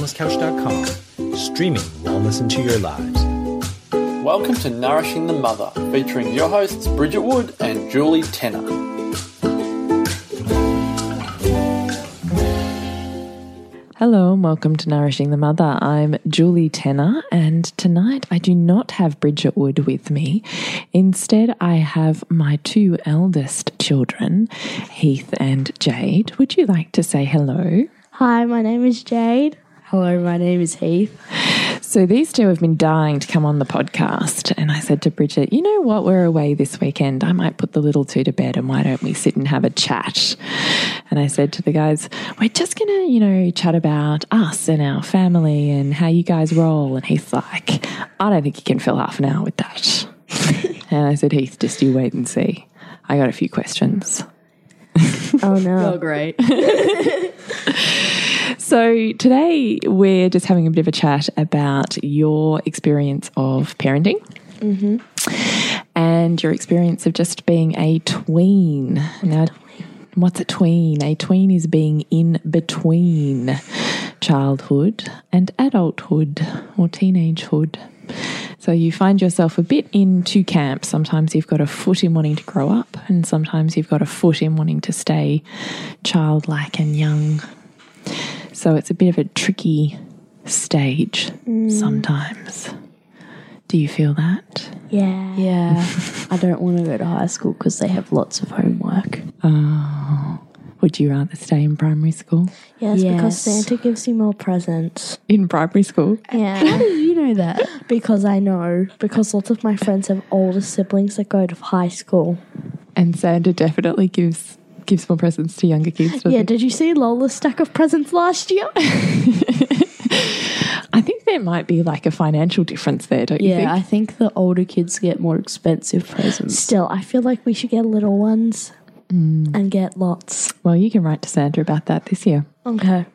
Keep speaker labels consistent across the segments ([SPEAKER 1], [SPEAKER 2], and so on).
[SPEAKER 1] wellnesscouch.com, streaming wellness into your lives.
[SPEAKER 2] Welcome to Nourishing the Mother, featuring your hosts Bridget Wood and Julie Tenner.
[SPEAKER 3] Hello and welcome to Nourishing the Mother. I'm Julie Tenner, and tonight I do not have Bridget Wood with me. Instead, I have my two eldest children, Heath and Jade. Would you like to say hello?
[SPEAKER 4] Hi, my name is Jade. Hello, my name is Heath.
[SPEAKER 3] So these two have been dying to come on the podcast, and I said to Bridget, "You know what? We're away this weekend. I might put the little two to bed, and why don't we sit and have a chat?" And I said to the guys, "We're just gonna, you know, chat about us and our family and how you guys roll." And Heath's like, "I don't think you can fill half an hour with that." and I said, "Heath, just you wait and see. I got a few questions."
[SPEAKER 4] Oh no.
[SPEAKER 5] great.
[SPEAKER 3] So today we're just having a bit of a chat about your experience of parenting. And your experience of just being a tween. Now, what's a tween? A tween is being in between childhood and adulthood or teenagehood. So you find yourself a bit in two camps. Sometimes you've got a foot in wanting to grow up, and sometimes you've got a foot in wanting to stay childlike and young. So it's a bit of a tricky stage sometimes. Do you feel that?
[SPEAKER 4] Yeah.
[SPEAKER 5] Yeah. I don't want to go to high school because they have lots of homework.
[SPEAKER 3] Would you rather stay in primary school?
[SPEAKER 4] Yes, because
[SPEAKER 5] Yes.
[SPEAKER 4] Santa gives you more presents.
[SPEAKER 3] In primary school?
[SPEAKER 4] Yeah.
[SPEAKER 5] You know that.
[SPEAKER 4] because I know. Because lots of my friends have older siblings that go to high school.
[SPEAKER 3] And Santa definitely gives gives more presents to younger kids. doesn't
[SPEAKER 4] Yeah,
[SPEAKER 3] he?
[SPEAKER 4] did you see Lola's stack of presents last year?
[SPEAKER 3] I think there might be like a financial difference there, don't you
[SPEAKER 5] Yeah,
[SPEAKER 3] think?
[SPEAKER 5] I think the older kids get more expensive presents.
[SPEAKER 4] Still, I feel like we should get little ones and get lots.
[SPEAKER 3] Well, you can write to Santa about that this year.
[SPEAKER 4] Okay.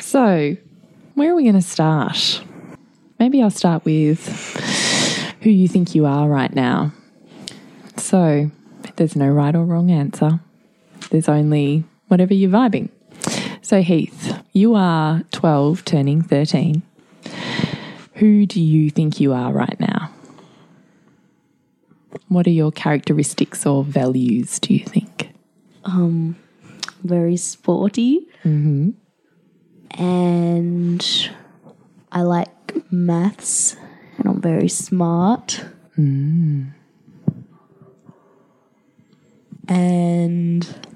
[SPEAKER 3] So, where are we going to start? Maybe I'll start with who you think you are right now. So, there's no right or wrong answer. There's only whatever you're vibing. So, Heath, you are 12, turning 13. Who do you think you are right now? What are your characteristics or values, do you think?
[SPEAKER 5] Very sporty. Mm-hmm. And I like maths and I'm very smart.
[SPEAKER 4] Mm.
[SPEAKER 5] And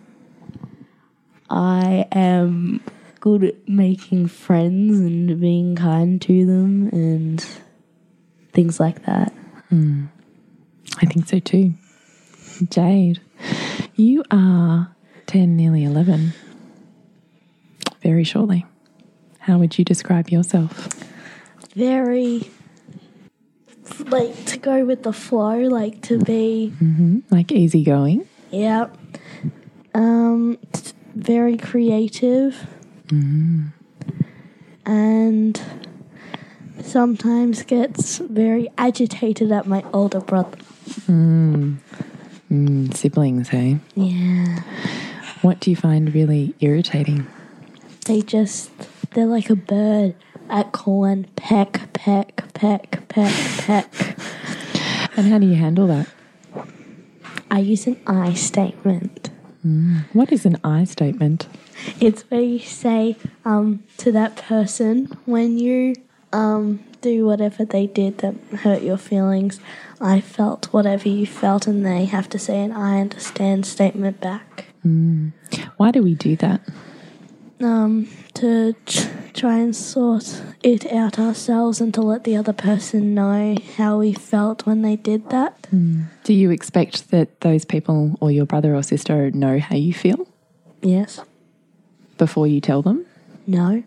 [SPEAKER 5] I am good at making friends and being kind to them and things like that.
[SPEAKER 3] I think so too. Jade, you are 10, nearly 11. Very shortly. How would you describe yourself?
[SPEAKER 4] Very like to go with the flow, like to be
[SPEAKER 3] Like easygoing?
[SPEAKER 4] Yep. Um, t- very creative. And sometimes gets very agitated at my older brother.
[SPEAKER 3] Mm, siblings, hey?
[SPEAKER 4] Yeah.
[SPEAKER 3] What do you find really irritating?
[SPEAKER 4] They just, they're like a bird at call and peck, peck, peck, peck, peck.
[SPEAKER 3] And how do you handle that?
[SPEAKER 4] I use an I statement.
[SPEAKER 3] What is an I statement?
[SPEAKER 4] It's where you say um, to that person when you um, do whatever they did that hurt your feelings. I felt whatever you felt, and they have to say an "I understand" statement back
[SPEAKER 3] Why do we do that?
[SPEAKER 4] um, to ch- try and sort it out ourselves and to let the other person know how we felt when they did that.
[SPEAKER 3] Do you expect that those people or your brother or sister know how you feel
[SPEAKER 4] Yes.
[SPEAKER 3] before you tell them?
[SPEAKER 4] No.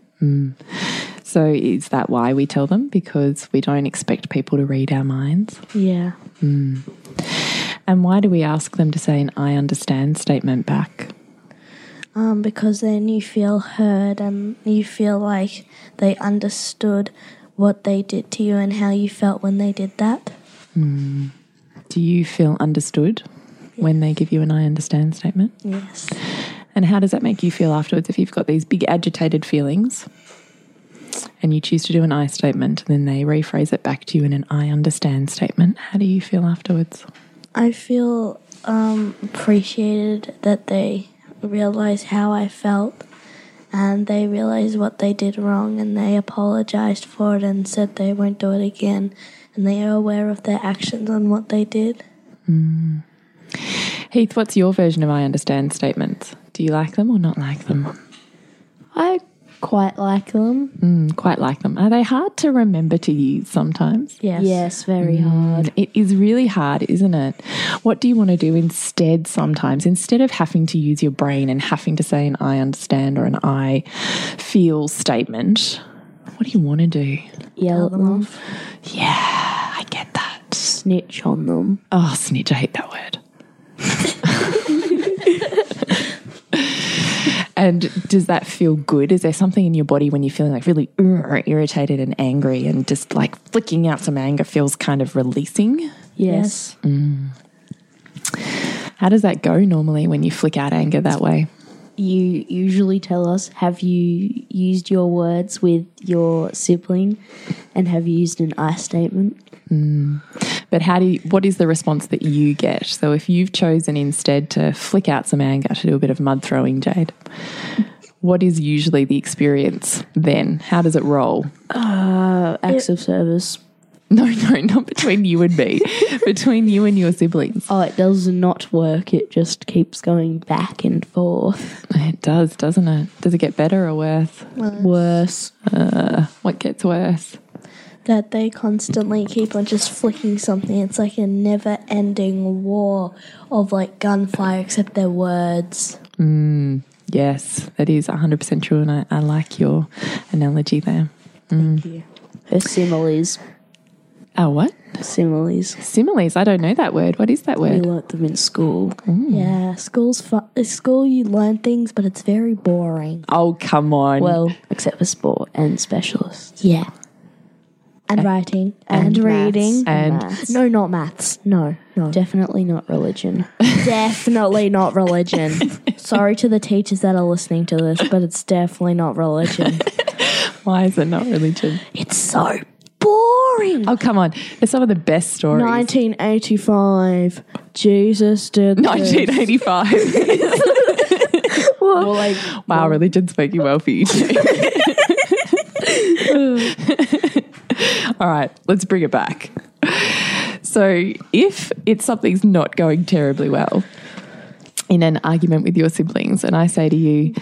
[SPEAKER 3] So, is that why we tell them? Because we don't expect people to read our minds?
[SPEAKER 4] Yeah.
[SPEAKER 3] And why do we ask them to say an I understand statement back?
[SPEAKER 4] Um, because then you feel heard and you feel like they understood what they did to you and how you felt when they did that.
[SPEAKER 3] Do you feel understood when they give you an I understand statement?
[SPEAKER 4] Yes.
[SPEAKER 3] And how does that make you feel afterwards if you've got these big agitated feelings and you choose to do an I statement and then they rephrase it back to you in an I understand statement? How do you feel afterwards?
[SPEAKER 4] I feel um, appreciated that they realized how I felt and they realized what they did wrong and they apologized for it and said they won't do it again and they are aware of their actions and what they did.
[SPEAKER 3] Heath, what's your version of I understand statements? Do you like them or not like them?
[SPEAKER 5] I quite like them.
[SPEAKER 3] Mm, quite like them. Are they hard to remember to use sometimes?
[SPEAKER 4] Yes.
[SPEAKER 5] Yes, very hard.
[SPEAKER 3] hard. It is really hard, isn't it? What do you want to do instead sometimes? Instead of having to use your brain and having to say an I understand or an I feel statement, what do you want to do?
[SPEAKER 5] Yell at them,
[SPEAKER 3] Yeah, I get that.
[SPEAKER 5] snitch on them.
[SPEAKER 3] Oh, snitch, I hate that word. and does that feel good? Is there something in your body when you're feeling like really ir- irritated and angry and just like flicking out some anger feels kind of releasing?
[SPEAKER 5] Yes.
[SPEAKER 3] How does that go normally when you flick out anger that way?
[SPEAKER 5] You usually tell us have you used your words with your sibling and have you used an I statement?
[SPEAKER 3] But how do you, what is the response that you get? So if you've chosen instead to flick out some anger to do a bit of mud throwing, Jade, what is usually the experience then? How does it roll?
[SPEAKER 5] Acts of service.
[SPEAKER 3] No, no, not between you and me, between you and your siblings.
[SPEAKER 5] Oh, it does not work. It just keeps going back and forth.
[SPEAKER 3] It does, doesn't it? Does it get better or worse?
[SPEAKER 5] Worse.
[SPEAKER 3] What gets worse?
[SPEAKER 4] That they constantly keep on just flicking something. It's like a never ending war of like gunfire, except their words.
[SPEAKER 3] Yes, that is 100% true. And I, I like your analogy there.
[SPEAKER 5] Her similes.
[SPEAKER 3] Oh, what?
[SPEAKER 5] Similes.
[SPEAKER 3] Similes. I don't know that word. What is that
[SPEAKER 5] We
[SPEAKER 3] word?
[SPEAKER 5] learnt them in school.
[SPEAKER 4] Yeah, school's fun. At school, you learn things, but it's very boring.
[SPEAKER 3] Oh, come on.
[SPEAKER 5] Well, except for sport and specialist.
[SPEAKER 4] Yeah. And writing
[SPEAKER 5] and
[SPEAKER 4] and, reading.
[SPEAKER 5] maths.
[SPEAKER 3] and
[SPEAKER 5] Maths.
[SPEAKER 4] No, not maths. No, no.
[SPEAKER 5] Definitely not religion.
[SPEAKER 4] definitely not religion. Sorry to the teachers that are listening to this, but it's definitely not religion.
[SPEAKER 3] why is it not religion?
[SPEAKER 4] it's so boring.
[SPEAKER 3] Oh, come on. It's some of the best stories.
[SPEAKER 4] 1985. Jesus did. this.
[SPEAKER 3] 1985.
[SPEAKER 5] Or like
[SPEAKER 3] wow, religion's working well for you too. All right, let's bring it back. So, if it's something's not going terribly well in an argument with your siblings, and I say to you,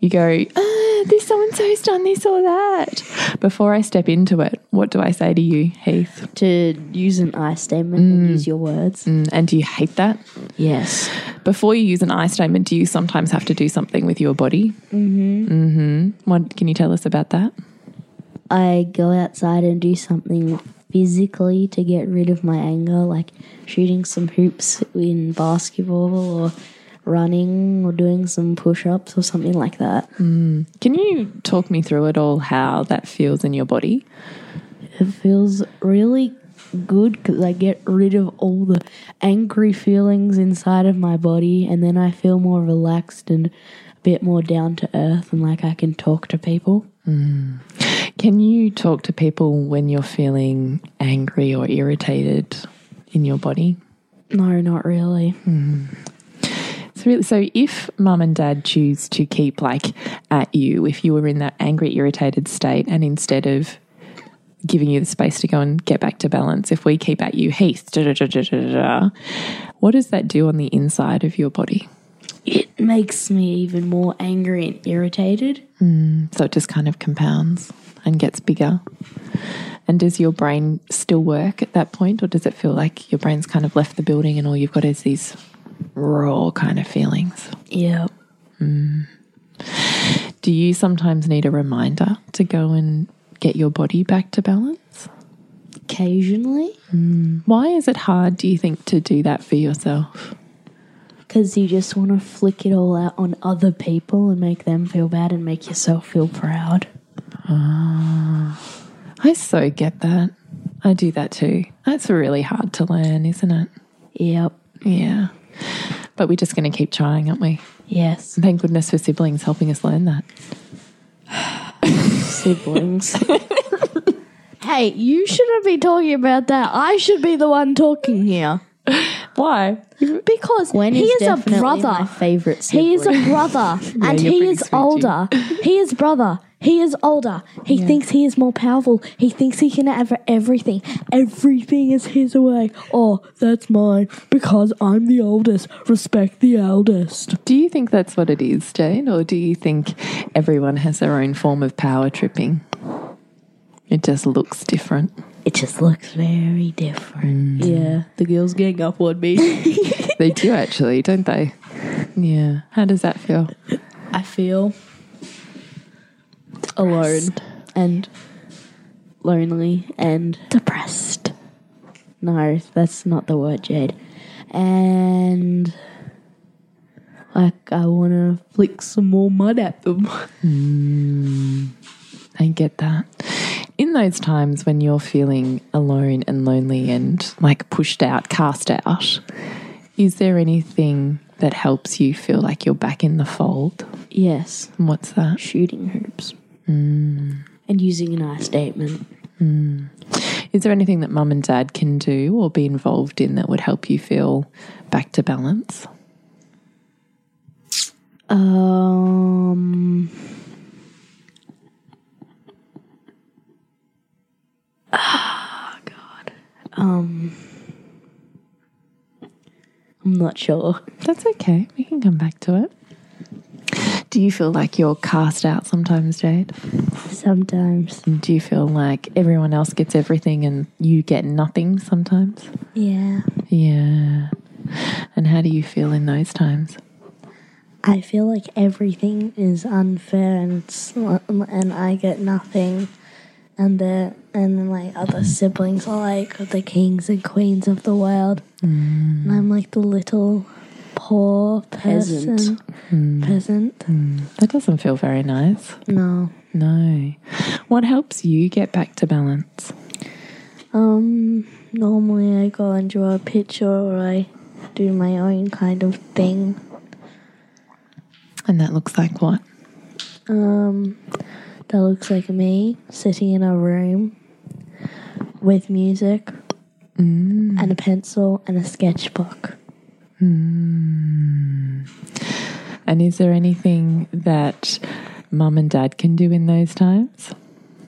[SPEAKER 3] you go, ah, this so and so's done this or that. Before I step into it, what do I say to you, Heath?
[SPEAKER 5] to use an I statement and use your words.
[SPEAKER 3] Mm, And do you hate that?
[SPEAKER 5] Yes.
[SPEAKER 3] Before you use an I statement, do you sometimes have to do something with your body? Mm-hmm. Mm-hmm. What, can you tell us about that?
[SPEAKER 5] I go outside and do something physically to get rid of my anger, like shooting some hoops in basketball or running or doing some push ups or something like that.
[SPEAKER 3] Can you talk me through it all, how that feels in your body?
[SPEAKER 5] It feels really good because I get rid of all the angry feelings inside of my body and then I feel more relaxed and a bit more down to earth and like I can talk to people.
[SPEAKER 3] Can you talk to people when you're feeling angry or irritated in your body?
[SPEAKER 5] No, not really.
[SPEAKER 3] It's really, so if mum and dad choose to keep like at you, if you were in that angry, irritated state, and instead of giving you the space to go and get back to balance, if we keep at you, Heath, da, da, da, da, da, da, what does that do on the inside of your body?
[SPEAKER 5] It makes me even more angry and irritated.
[SPEAKER 3] So it just kind of compounds and gets bigger. And does your brain still work at that point, or does it feel like your brain's kind of left the building and all you've got is these raw kind of feelings?
[SPEAKER 5] Yeah.
[SPEAKER 3] Do you sometimes need a reminder to go and get your body back to balance?
[SPEAKER 5] Occasionally,
[SPEAKER 3] Why is it hard, do you think, to do that for yourself?
[SPEAKER 5] because you just want to flick it all out on other people and make them feel bad and make yourself feel proud.
[SPEAKER 3] I so get that. I do that too. That's really hard to learn, isn't it?
[SPEAKER 5] Yep.
[SPEAKER 3] Yeah. But we're just going to keep trying, aren't we?
[SPEAKER 5] Yes.
[SPEAKER 3] Thank goodness for siblings helping us learn that.
[SPEAKER 5] Siblings.
[SPEAKER 4] Hey, you shouldn't be talking about that. I should be the one talking here.
[SPEAKER 3] Why?
[SPEAKER 4] Because
[SPEAKER 5] Gwen
[SPEAKER 4] he
[SPEAKER 5] is,
[SPEAKER 4] is, a
[SPEAKER 5] definitely
[SPEAKER 4] brother.
[SPEAKER 5] my favorite sibling.
[SPEAKER 4] He is a brother, and
[SPEAKER 3] you're
[SPEAKER 4] he
[SPEAKER 3] pretty
[SPEAKER 4] is
[SPEAKER 3] sweet,
[SPEAKER 4] older. He is brother. He is older. He thinks he is more powerful. He thinks he can have everything. Everything is his way. Oh, that's mine because I'm the oldest. Respect the eldest.
[SPEAKER 3] Do you think that's what it is, Jane, or do you think everyone has their own form of power tripping? It just looks different.
[SPEAKER 4] It just looks very different.
[SPEAKER 5] yeah, Mm. the girls gang up on me.
[SPEAKER 3] They do actually, don't they? Yeah. How does that feel?
[SPEAKER 5] I feel alone and lonely and
[SPEAKER 4] Depressed.
[SPEAKER 5] no, that's not the word, Jade. And like I want to flick some more mud at them.
[SPEAKER 3] I get that. In those times when you're feeling alone and lonely and like pushed out, cast out, is there anything that helps you feel like you're back in the fold?
[SPEAKER 5] yes,
[SPEAKER 3] And What's that?
[SPEAKER 5] shooting hoops
[SPEAKER 4] Mm.
[SPEAKER 5] and using an I statement.
[SPEAKER 3] Is there anything that mum and dad can do or be involved in that would help you feel back to balance?
[SPEAKER 5] Um. Ah, God. Um. I'm not sure.
[SPEAKER 3] That's okay. We can come back to it. Do you feel like you're cast out sometimes, Jade?
[SPEAKER 4] Sometimes.
[SPEAKER 3] And do you feel like everyone else gets everything and you get nothing sometimes?
[SPEAKER 4] Yeah.
[SPEAKER 3] Yeah. And how do you feel in those times?
[SPEAKER 4] I feel like everything is unfair and it's and I get nothing, and the and then like other siblings are like the kings and queens of the world, and I'm like the little poor person,
[SPEAKER 5] Peasant.
[SPEAKER 4] peasant.
[SPEAKER 3] That doesn't feel very nice.
[SPEAKER 4] No,
[SPEAKER 3] No. What helps you get back to balance?
[SPEAKER 4] Um, normally I go and draw a picture or I do my own kind of thing.
[SPEAKER 3] And that looks like what?
[SPEAKER 4] that looks like me sitting in a room with music and a pencil and a sketchbook.
[SPEAKER 3] And is there anything that mum and dad can do in those times?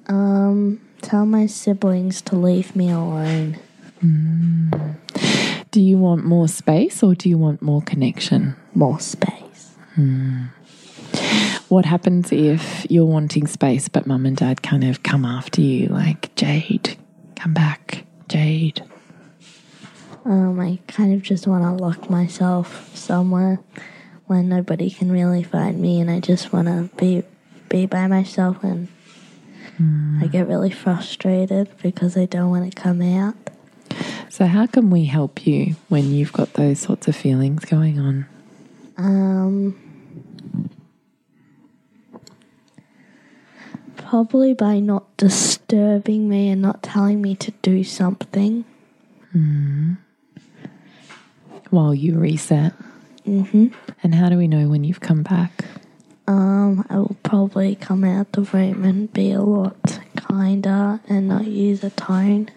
[SPEAKER 4] Tell my siblings to leave me alone.
[SPEAKER 3] Do you want more space or do you want more connection?
[SPEAKER 4] More space.
[SPEAKER 3] What happens if you're wanting space but mum and dad kind of come after you like, Jade, come back, Jade?
[SPEAKER 4] Um, I kind of just want to lock myself somewhere where nobody can really find me, and I just want to be be by myself. And I get really frustrated because I don't want to come out.
[SPEAKER 3] So, how can we help you when you've got those sorts of feelings going on?
[SPEAKER 4] Probably by not disturbing me and not telling me to do something.
[SPEAKER 3] while you reset. Mm-hmm. And how do we know when you've come back?
[SPEAKER 4] Um, I will probably come out the room and be a lot kinder and not use a tone.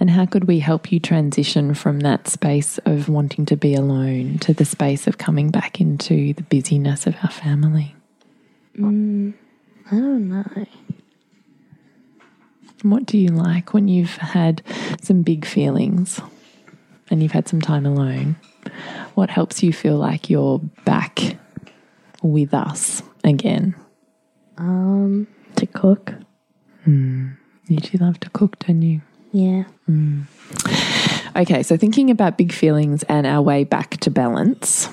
[SPEAKER 3] And how could we help you transition from that space of wanting to be alone to the space of coming back into the busyness of our family?
[SPEAKER 4] Mm, I don't know.
[SPEAKER 3] And what do you like when you've had some big feelings and you've had some time alone? What helps you feel like you're back with us again?
[SPEAKER 4] To cook.
[SPEAKER 3] You do love to cook, don't you?
[SPEAKER 4] Yeah.
[SPEAKER 3] Okay, so thinking about big feelings and our way back to balance.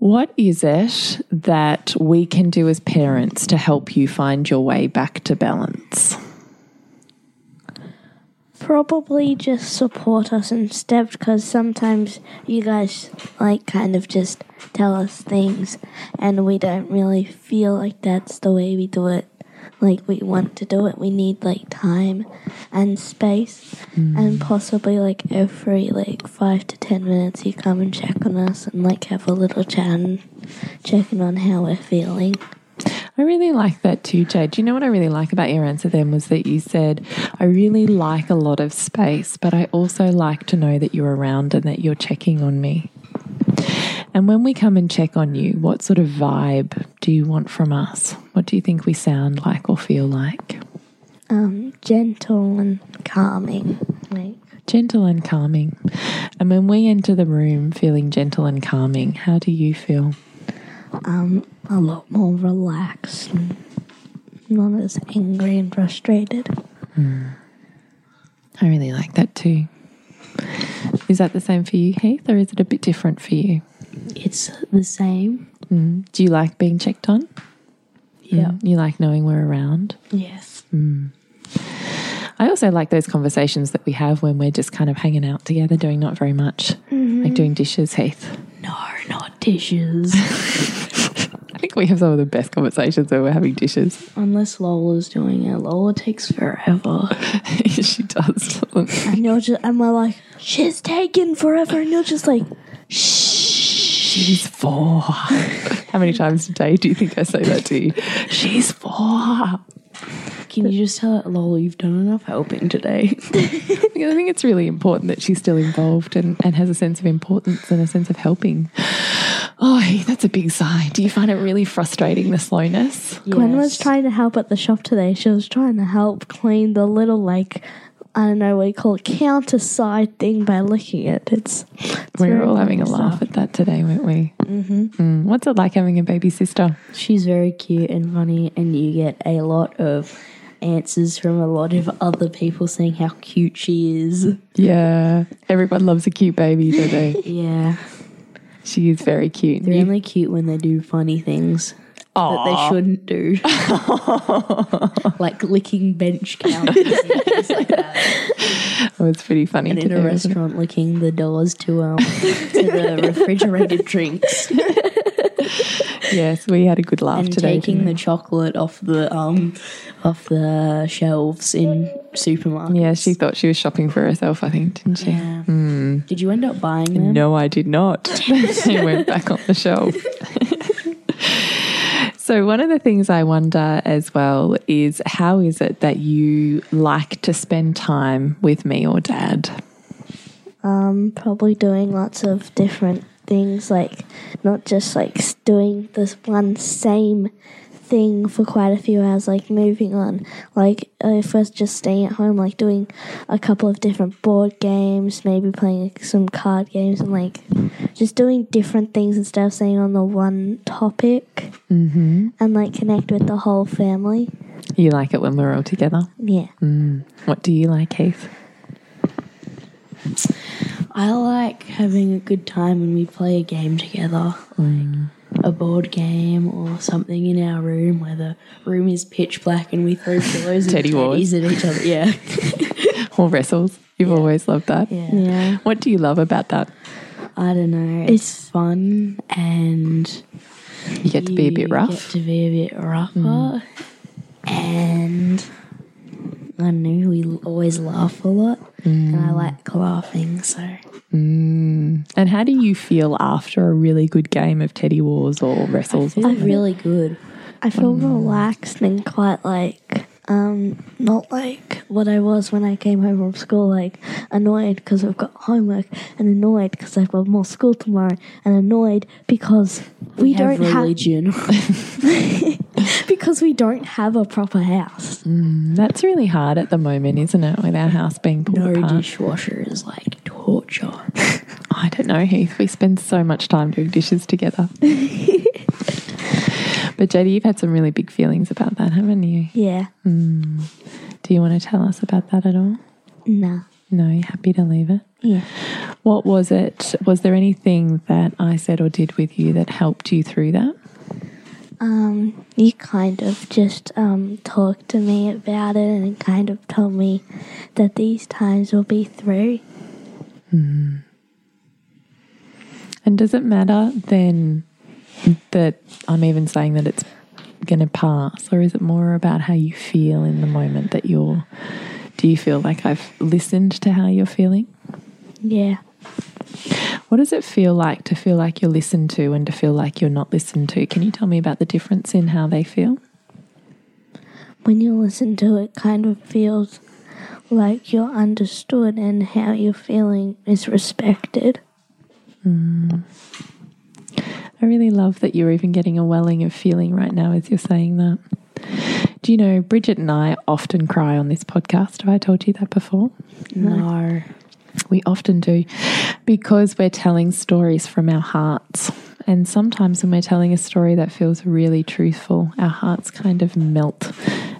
[SPEAKER 3] What is it that we can do as parents to help you find your way back to balance?
[SPEAKER 4] Probably just support us and stuff because sometimes you guys like kind of just tell us things and we don't really feel like that's the way we do it. like we want to do it, we need like time and space, and possibly like every like five to ten minutes, you come and check on us and like have a little chat and checking on how we're feeling.
[SPEAKER 3] I really like that too, Jade. Do you know what I really like about your answer then was that you said, I really like a lot of space, but I also like to know that you're around and that you're checking on me. And when we come and check on you, what sort of vibe do you want from us? What do you think we sound like or feel like?
[SPEAKER 4] Um, gentle and calming, like
[SPEAKER 3] Gentle and calming. And when we enter the room feeling gentle and calming, how do you feel?
[SPEAKER 4] a lot more relaxed, and not as angry and frustrated.
[SPEAKER 3] I really like that too. Is that the same for you, Heath, or is it a bit different for you?
[SPEAKER 5] It's the same.
[SPEAKER 3] Do you like being checked on?
[SPEAKER 5] Yeah. Mm,
[SPEAKER 3] You like knowing we're around?
[SPEAKER 5] Yes.
[SPEAKER 3] I also like those conversations that we have when we're just kind of hanging out together, doing not very much, like doing dishes, Heath.
[SPEAKER 5] No, not dishes.
[SPEAKER 3] I think we have some of the best conversations when we're having dishes.
[SPEAKER 5] Unless Lola's doing it. Lola takes forever.
[SPEAKER 3] she does. doesn't she?
[SPEAKER 4] And you're just, and we're like, she's taking forever, and you're just like,
[SPEAKER 3] She's four. How many times a day do you think I say that to you? She's four. I
[SPEAKER 5] Can you just tell her, Lola, you've done enough helping today?
[SPEAKER 3] think I think it's really important that she's still involved and, and has a sense of importance and a sense of helping. Oh, Heath, that's a big sigh. Do you find it really frustrating, the slowness?
[SPEAKER 4] Gwen was trying to help at the shop today. She was trying to help clean the little like I don't know what you call it, counter side thing by licking it. It's, it's
[SPEAKER 3] We were
[SPEAKER 4] very
[SPEAKER 3] all having a laugh at that today, weren't we? Mm-hmm. what's it like having a baby sister?
[SPEAKER 5] She's very cute and funny, and you get a lot of answers from a lot of other people saying how cute she is.
[SPEAKER 3] Yeah, everyone loves a cute baby, don't they?
[SPEAKER 5] Yeah.
[SPEAKER 3] she is very cute.
[SPEAKER 5] They're only cute when they do funny things that they shouldn't do, like licking bench counters and things like that.
[SPEAKER 3] It was pretty funny.
[SPEAKER 5] and in
[SPEAKER 3] today,
[SPEAKER 5] a
[SPEAKER 3] wasn't it?
[SPEAKER 5] restaurant licking the doors to um to the refrigerated drinks
[SPEAKER 3] Yes, we had a good laugh
[SPEAKER 5] and
[SPEAKER 3] today.
[SPEAKER 5] taking
[SPEAKER 3] didn't we?
[SPEAKER 5] the chocolate off the um off the shelves in supermarkets.
[SPEAKER 3] yeah, she thought she was shopping for herself, I think, didn't she?
[SPEAKER 5] Yeah. Did you end up buying them?
[SPEAKER 3] No, I did not. she went back on the shelf. so, one of the things I wonder as well is how is it that you like to spend time with me or dad?
[SPEAKER 4] um probably doing lots of different things like not just like s- doing this one same thing for quite a few hours like moving on like uh, if we're just staying at home like doing a couple of different board games maybe playing like, some card games and like just doing different things instead of staying on the one topic mm-hmm. and like connect with the whole family
[SPEAKER 3] You like it when we're all together.
[SPEAKER 4] yeah
[SPEAKER 3] What do you like, Heath?
[SPEAKER 5] I like having a good time when we play a game together, like a board game or something in our room where the room is pitch black and we throw pillows and
[SPEAKER 3] Teddy wars.
[SPEAKER 5] teddies at each other. Yeah.
[SPEAKER 3] Or wrestles? You've always loved that.
[SPEAKER 5] yeah.
[SPEAKER 4] yeah
[SPEAKER 3] What do you love about that?
[SPEAKER 5] I don't know. It's, fun and
[SPEAKER 3] You get to be a
[SPEAKER 5] you
[SPEAKER 3] bit
[SPEAKER 5] Get
[SPEAKER 3] rough.
[SPEAKER 5] to be a bit rougher, and I don't know we l- always laugh a lot, and I like laughing. So
[SPEAKER 3] And how do you feel after a really good game of Teddy Wars or wrestles? or
[SPEAKER 5] it's really good.
[SPEAKER 4] I feel relaxed and quite like um not like what I was when I came home from school like annoyed because I've got homework and annoyed because I've got more school tomorrow and annoyed because we,
[SPEAKER 5] We, have
[SPEAKER 4] don't have
[SPEAKER 5] religion.
[SPEAKER 4] because we don't have a proper house.
[SPEAKER 3] That's really hard at the moment, isn't it? With our house being pulled
[SPEAKER 5] no
[SPEAKER 3] apart.
[SPEAKER 5] dishwasher is like torture.
[SPEAKER 3] I don't know, Heath. We spend so much time doing dishes together. but Jodie, you've had some really big feelings about that, haven't you?
[SPEAKER 4] Yeah.
[SPEAKER 3] Do you want to tell us about that at all?
[SPEAKER 4] Nah.
[SPEAKER 3] No, you're happy to leave it.
[SPEAKER 4] Yeah.
[SPEAKER 3] What was it? Was there anything that I said or did with you that helped you through that?
[SPEAKER 4] Um, you kind of just um, talked to me about it and kind of told me that these times will be through.
[SPEAKER 3] And does it matter then that I'm even saying that it's going to pass, or is it more about how you feel in the moment that you're? Do you feel like I've listened to how you're feeling?
[SPEAKER 4] Yeah.
[SPEAKER 3] What does it feel like to feel like you're listened to and to feel like you're not listened to? Can you tell me about the difference in how they feel?
[SPEAKER 4] When you listen to it, kind of feels like you're understood and how you're feeling is respected.
[SPEAKER 3] I really love that you're even getting a welling of feeling right now as you're saying that. Do you know, Bridget and I often cry on this podcast. Have I told you that before?
[SPEAKER 5] No.
[SPEAKER 3] We often do because we're telling stories from our hearts. And sometimes when we're telling a story that feels really truthful, our hearts kind of melt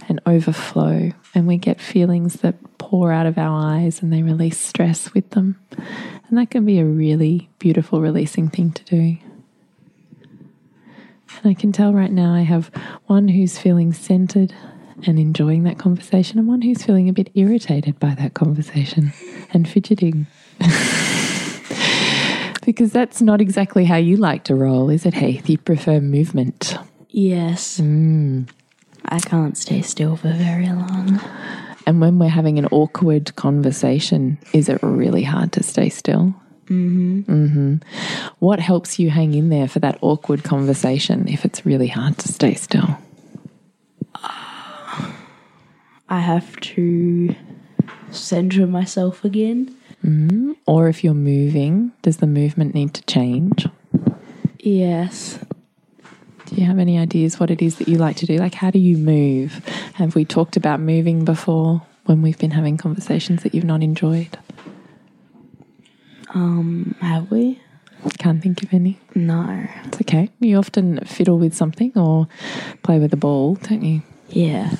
[SPEAKER 3] and overflow, and we get feelings that pour out of our eyes and they release stress with them. And that can be a really beautiful, releasing thing to do. And I can tell right now I have one who's feeling centered and enjoying that conversation, and one who's feeling a bit irritated by that conversation and fidgeting. because that's not exactly how you like to roll, is it, Heath? You prefer movement.
[SPEAKER 5] Yes. Mm. I can't stay still for very long.
[SPEAKER 3] And when we're having an awkward conversation, is it really hard to stay still? Mm-hmm. Mm-hmm. What helps you hang in there for that awkward conversation if it's really hard to stay still?
[SPEAKER 5] I have to center myself again.
[SPEAKER 3] Or if you're moving, does the movement need to change?
[SPEAKER 5] Yes.
[SPEAKER 3] Do you have any ideas what it is that you like to do? Like, how do you move? Have we talked about moving before when we've been having conversations that you've not enjoyed?
[SPEAKER 5] Have we?
[SPEAKER 3] Can't think of any.
[SPEAKER 5] No.
[SPEAKER 3] It's okay. You often fiddle with something or play with a ball, don't you?
[SPEAKER 5] Yeah.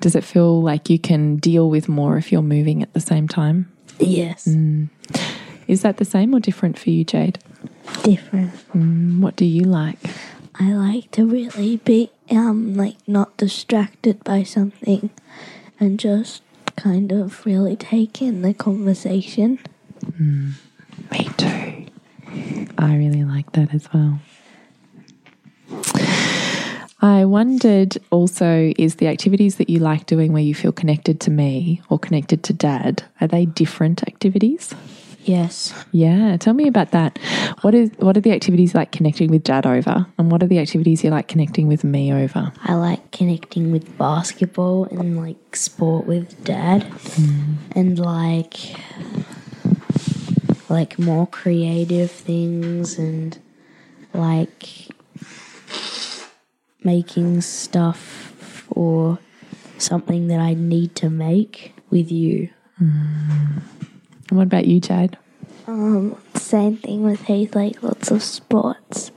[SPEAKER 3] Does it feel like you can deal with more if you're moving at the same time?
[SPEAKER 4] Yes.
[SPEAKER 3] Is that the same or different for you, Jade?
[SPEAKER 4] Different.
[SPEAKER 3] What do you like?
[SPEAKER 4] I like to really be um like not distracted by something and just kind of really take in the conversation.
[SPEAKER 3] Me too. I really like that as well. I wondered also is the activities that you like doing where you feel connected to me or connected to dad, are they different activities?
[SPEAKER 5] Yes.
[SPEAKER 3] Yeah, tell me about that. What is what are the activities you like connecting with dad over and what are the activities you like connecting with me over?
[SPEAKER 5] I like connecting with basketball and like sport with dad and like like more creative things and like making stuff or something that I need to make with you.
[SPEAKER 3] And what about you, Jade?
[SPEAKER 4] Same thing with Heath, like lots of sports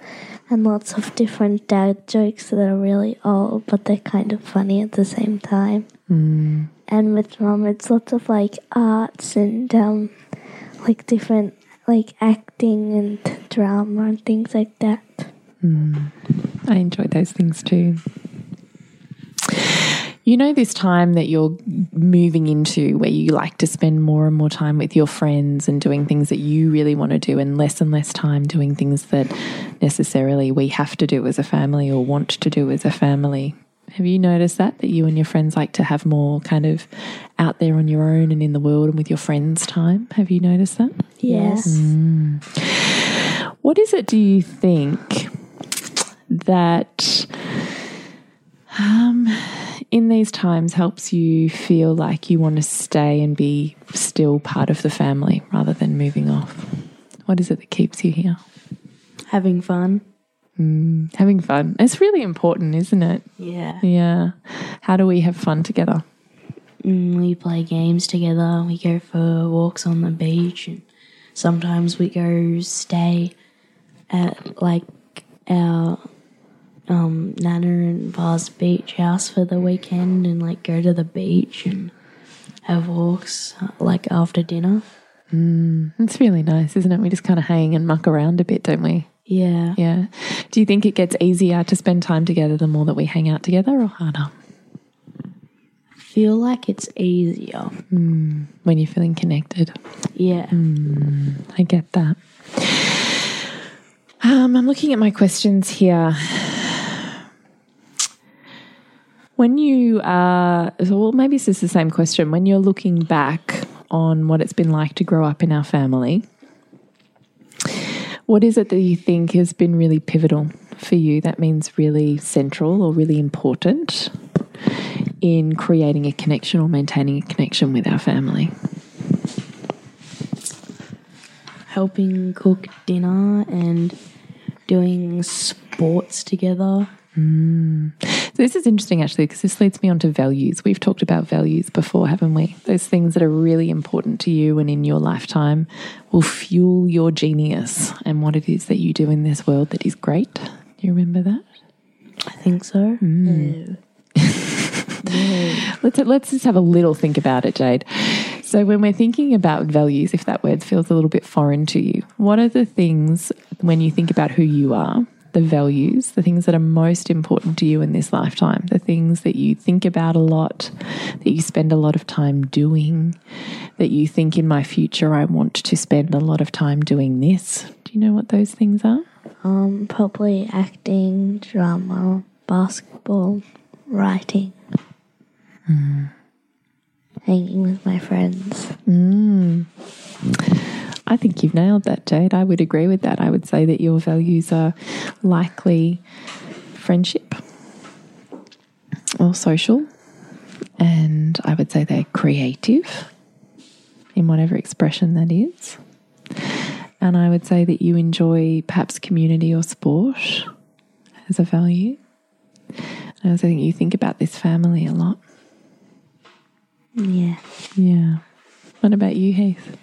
[SPEAKER 4] and lots of different dad jokes that are really old but they're kind of funny at the same time. And with mum, it's lots of like arts and um, like different like acting and drama and things like that.
[SPEAKER 3] I enjoy those things too. You know, this time that you're moving into where you like to spend more and more time with your friends and doing things that you really want to do, and less and less time doing things that necessarily we have to do as a family or want to do as a family. Have you noticed that? That you and your friends like to have more kind of out there on your own and in the world and with your friends time? Have you noticed that?
[SPEAKER 4] Yes.
[SPEAKER 3] What is it, do you think, that um, in these times helps you feel like you want to stay and be still part of the family rather than moving off? What is it that keeps you here?
[SPEAKER 5] Having fun.
[SPEAKER 3] Having fun. It's really important, isn't it?
[SPEAKER 5] Yeah.
[SPEAKER 3] Yeah. How do we have fun together?
[SPEAKER 5] Mm, We play games together. We go for walks on the beach, and sometimes we go stay at like our um, nana and pa's beach house for the weekend, and like go to the beach and have walks uh, like after dinner.
[SPEAKER 3] It's really nice, isn't it? We just kind of hang and muck around a bit, don't we?
[SPEAKER 5] Yeah.
[SPEAKER 3] Yeah. Do you think it gets easier to spend time together the more that we hang out together or harder?
[SPEAKER 5] Feel like it's easier.
[SPEAKER 3] When you're feeling connected.
[SPEAKER 5] Yeah.
[SPEAKER 3] I get that. Um, I'm looking at my questions here. When you are, so, well, maybe this is the same question. When you're looking back on what it's been like to grow up in our family, what is it that you think has been really pivotal for you? That means really central or really important in creating a connection or maintaining a connection with our family?
[SPEAKER 5] helping cook dinner and doing sports together.
[SPEAKER 3] So this is interesting actually because this leads me on to values. We've talked about values before, haven't we? Those things that are really important to you and in your lifetime will fuel your genius and what it is that you do in this world that is great. Do you remember that?
[SPEAKER 5] I think so.
[SPEAKER 3] Let's let's just have a little think about it, Jade. So when we're thinking about values, if that word feels a little bit foreign to you, what are the things when you think about who you are, the values, the things that are most important to you in this lifetime, the things that you think about a lot, that you spend a lot of time doing, that you think in my future I want to spend a lot of time doing this. Do you know what those things are?
[SPEAKER 4] Um, probably acting, drama, basketball, writing, hanging with my friends.
[SPEAKER 3] I think you've nailed that, Jade. I would agree with that. I would say that your values are likely friendship or social. And I would say they're creative in whatever expression that is. And I would say that you enjoy perhaps community or sport as a value. And I also think you think about this family a lot.
[SPEAKER 4] Yeah.
[SPEAKER 3] Yeah. What about you, Heath?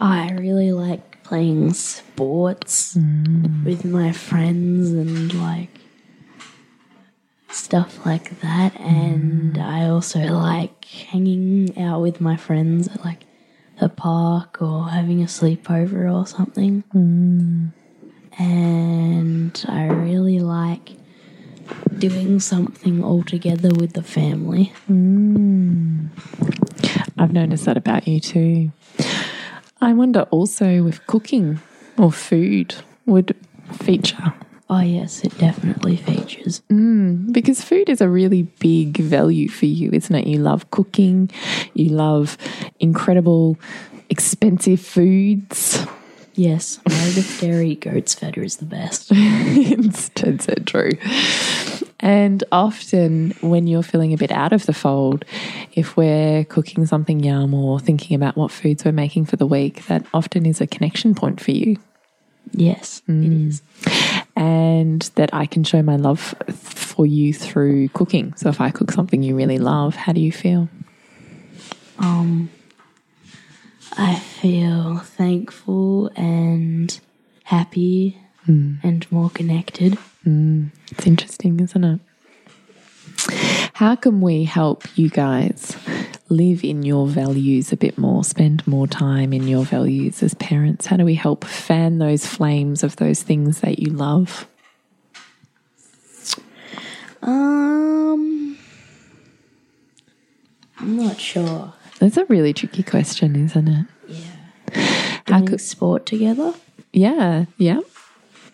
[SPEAKER 5] I really like playing sports
[SPEAKER 3] Mm.
[SPEAKER 5] with my friends and like stuff like that. And I also like hanging out with my friends at like the park or having a sleepover or something. And I really like doing something all together with the family.
[SPEAKER 3] I've noticed that about you too. I wonder also if cooking or food would feature
[SPEAKER 5] Oh, yes, it definitely features.
[SPEAKER 3] because food is a really big value for you, isn't it? You love cooking, you love incredible, expensive foods.
[SPEAKER 5] Yes, Meredith Dairy Goat's Feta is the best.
[SPEAKER 3] Instead, so true. And often, when you're feeling a bit out of the fold, if we're cooking something yum or thinking about what foods we're making for the week, that often is a connection point for you.
[SPEAKER 5] Yes,
[SPEAKER 3] Mm.
[SPEAKER 5] it is.
[SPEAKER 3] and that I can show my love for you through cooking. So if I cook something you really love, how do you feel?
[SPEAKER 5] I feel thankful and happy
[SPEAKER 3] Mm.
[SPEAKER 5] and more connected.
[SPEAKER 3] It's interesting, isn't it? How can we help you guys live in your values a bit more, spend more time in your values as parents? How do we help fan those flames of those things that you love?
[SPEAKER 5] Um, I'm not sure.
[SPEAKER 3] That's a really tricky question, isn't it?
[SPEAKER 5] Doing sport together?
[SPEAKER 3] Yeah, yeah.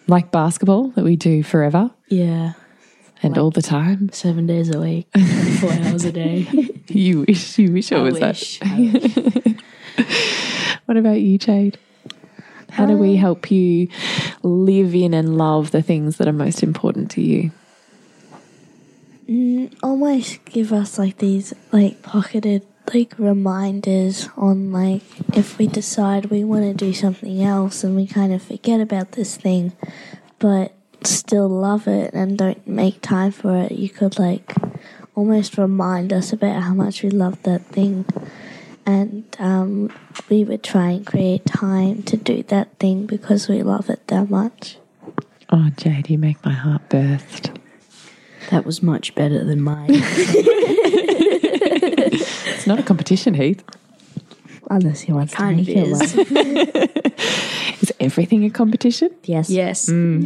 [SPEAKER 3] Like basketball that we do forever
[SPEAKER 5] Yeah,
[SPEAKER 3] and all the time.
[SPEAKER 5] seven days a week, 24 hours a day.
[SPEAKER 3] You wish, you wish it
[SPEAKER 5] I
[SPEAKER 3] was that.
[SPEAKER 5] wish. I wish.
[SPEAKER 3] What about you, Jade? How do we help you live in and love the things that are most important to you?
[SPEAKER 4] almost give us like these like pocketed like reminders on like if we decide we want to do something else and we kind of forget about this thing but still love it and don't make time for it you could like almost remind us about how much we love that thing and um, we would try and create time to do that thing because we love it that much
[SPEAKER 3] Oh, Jade, you make my heart burst.
[SPEAKER 5] That was much better than mine.
[SPEAKER 3] It's not a competition, Heath.
[SPEAKER 4] unless you want to
[SPEAKER 5] Kind of is.
[SPEAKER 3] Is everything a competition?
[SPEAKER 4] yes
[SPEAKER 5] Yes.
[SPEAKER 3] All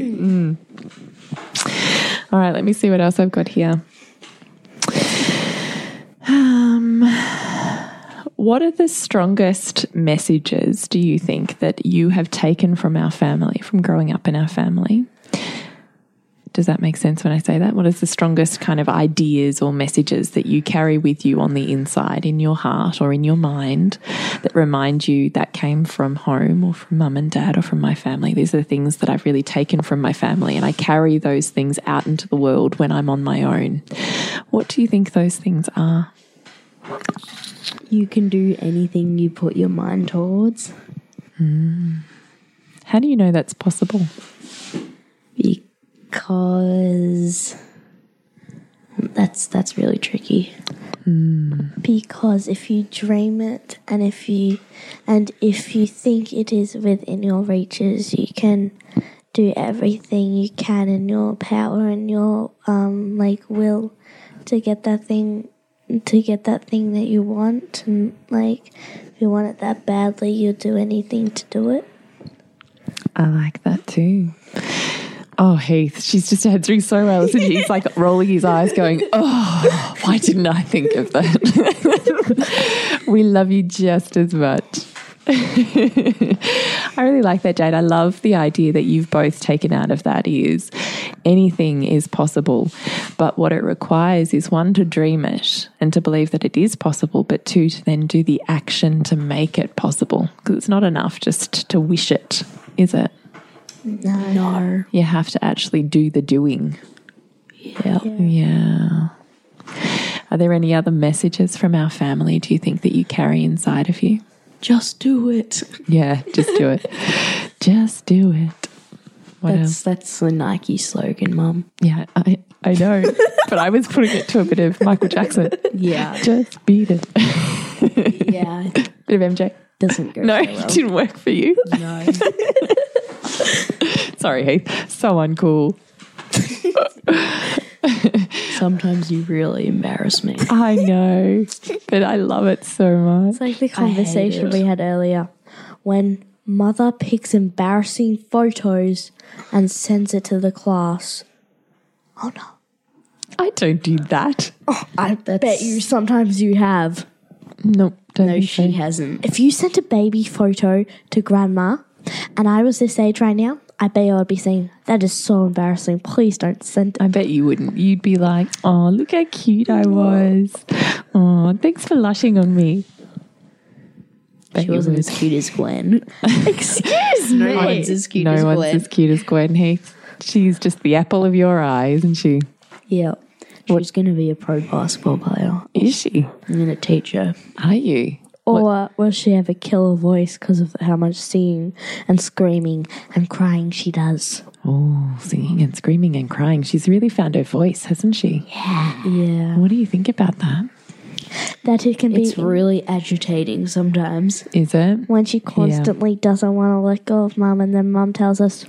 [SPEAKER 3] right, let me see what else I've got here. Um, Um, what are the strongest messages do you think that you have taken from our family, from growing up in our family? Does that make sense when I say that? What is the strongest kind of ideas or messages that you carry with you on the inside, in your heart or in your mind, that remind you that came from home or from mum and dad or from my family? These are the things that I've really taken from my family, and I carry those things out into the world when I'm on my own. What do you think those things are?
[SPEAKER 5] You can do anything you put your mind towards
[SPEAKER 3] How do you know that's possible?
[SPEAKER 5] because that's that's really tricky.
[SPEAKER 4] because if you dream it and if you and if you think it is within your reaches you can do everything you can in your power and your um like will to get that thing to get that thing that you want and like if you want it that badly you'll do anything to do it
[SPEAKER 3] I like that too. Oh, Heath, she's just answering so well, isn't she? He's like rolling his eyes, going, Oh, why didn't I think of that? we love you just as much. I really like that, Jade. I love the idea that you've both taken out of that is anything is possible, but what it requires is one, to dream it and to believe that it is possible, but two, to then do the action to make it possible. Because it's not enough just to wish it, is it?
[SPEAKER 5] No.
[SPEAKER 3] You have to actually do the doing.
[SPEAKER 5] Yeah.
[SPEAKER 3] Yeah. Are there any other messages from our family do you think that you carry inside of you?
[SPEAKER 5] Just do it.
[SPEAKER 3] Yeah, just do it. just do it. What else?
[SPEAKER 5] That's that's the Nike slogan, Mum.
[SPEAKER 3] Yeah, I, I know. but I was putting it to a bit of Michael Jackson.
[SPEAKER 5] Yeah.
[SPEAKER 3] Just beat it.
[SPEAKER 5] yeah.
[SPEAKER 3] bit of MJ.
[SPEAKER 5] Doesn't go.
[SPEAKER 3] No,
[SPEAKER 5] so
[SPEAKER 3] it didn't work for you.
[SPEAKER 5] well.
[SPEAKER 3] Sorry, Heath. So uncool.
[SPEAKER 5] Sometimes you really embarrass me.
[SPEAKER 3] I know, but I love it so much.
[SPEAKER 4] It's like the conversation we had earlier when mother picks embarrassing photos and sends it to the class. Oh no.
[SPEAKER 3] I don't do that.
[SPEAKER 4] I bet you sometimes you have.
[SPEAKER 3] No, don't
[SPEAKER 5] No,
[SPEAKER 3] think so.
[SPEAKER 5] she hasn't.
[SPEAKER 4] If you sent a baby photo to grandma and I was this age right now, I bet I would be saying, That is so embarrassing. Please don't send it.
[SPEAKER 3] I bet you wouldn't. You'd be like, oh, look how cute I was. Oh, thanks for lushing on me. Bet
[SPEAKER 5] She
[SPEAKER 3] you
[SPEAKER 5] wasn't
[SPEAKER 3] would.
[SPEAKER 5] as cute as Gwen.
[SPEAKER 4] Excuse
[SPEAKER 5] No one's as cute
[SPEAKER 3] no
[SPEAKER 5] as
[SPEAKER 3] one's
[SPEAKER 5] Gwen.
[SPEAKER 3] as cute as Gwen Heath. She's just the apple of your eye, isn't she?
[SPEAKER 5] yeah. She's going to be a pro basketball player
[SPEAKER 3] Is she?
[SPEAKER 5] and a teacher.
[SPEAKER 3] Are you?
[SPEAKER 4] Or will she have a killer voice because of how much singing and screaming and crying she does?
[SPEAKER 3] Oh, singing and screaming and crying. She's really found her voice, hasn't she?
[SPEAKER 5] Yeah.
[SPEAKER 3] What do you think about that?
[SPEAKER 4] That it can
[SPEAKER 5] It's
[SPEAKER 4] be
[SPEAKER 5] really agitating sometimes.
[SPEAKER 3] Is it?
[SPEAKER 4] when she constantly doesn't want to let go of mum, and then mum tells us,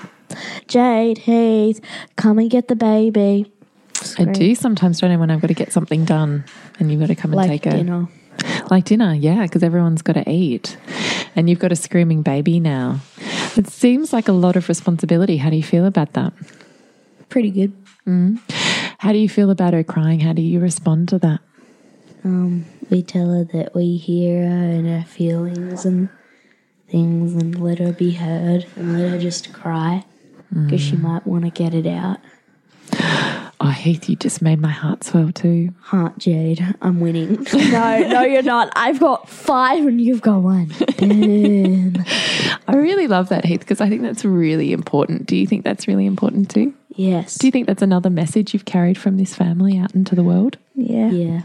[SPEAKER 4] Jade, Heath, come and get the baby.
[SPEAKER 3] I do sometimes, don't I, when I've got to get something done and you've got to come and
[SPEAKER 5] Like
[SPEAKER 3] take a
[SPEAKER 5] dinner.
[SPEAKER 3] Like dinner, yeah, because everyone's got to eat. And you've got a screaming baby now. It seems like a lot of responsibility. How do you feel about that?
[SPEAKER 5] Pretty good.
[SPEAKER 3] How do you feel about her crying? How do you respond to that?
[SPEAKER 5] We tell her that we hear her and her feelings and things and let her be heard and let her just cry because she
[SPEAKER 4] Mm.
[SPEAKER 5] might want to get it out.
[SPEAKER 3] Oh, Heath, you just made my heart swell too.
[SPEAKER 5] Heart Jade, I'm winning.
[SPEAKER 4] No, no, you're not. I've got five and you've got one.
[SPEAKER 3] I really love that, Heath, because I think that's really important. Do you think that's really important too?
[SPEAKER 5] yes.
[SPEAKER 3] Do you think that's another message you've carried from this family out into the world?
[SPEAKER 4] Yeah.
[SPEAKER 5] yeah.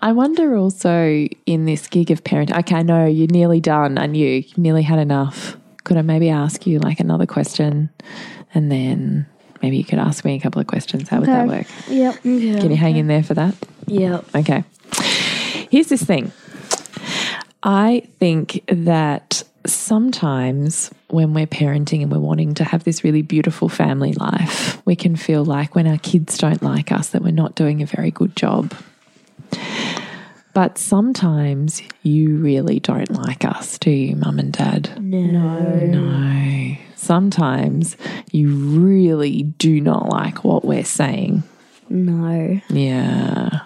[SPEAKER 3] I wonder also in this gig of parent. Okay, I know you're nearly done. I knew you nearly had enough. Could I maybe ask you like another question, and then maybe you could ask me a couple of questions? How would that work?
[SPEAKER 4] Yep.
[SPEAKER 3] Can you hang in there for that?
[SPEAKER 5] Yeah.
[SPEAKER 3] Okay. Here's this thing. I think that sometimes when we're parenting and we're wanting to have this really beautiful family life, we can feel like when our kids don't like us that we're not doing a very good job. But sometimes you really don't like us, do you, mum and dad? No. Sometimes you really do not like what we're saying.
[SPEAKER 5] No.
[SPEAKER 3] Yeah.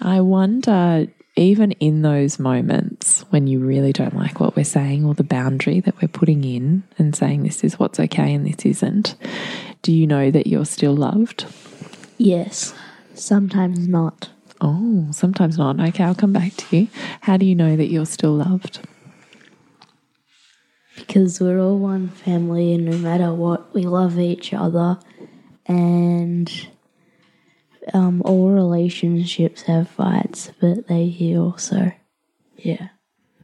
[SPEAKER 3] I wonder even in those moments when you really don't like what we're saying or the boundary that we're putting in and saying this is what's okay and this isn't, do you know that you're still loved?
[SPEAKER 5] Yes. Sometimes not.
[SPEAKER 3] Oh, sometimes not. Okay, I'll come back to you. How do you know that you're still loved?
[SPEAKER 5] Because we're all one family and no matter what, we love each other. And um, all relationships have fights, but they heal, so yeah.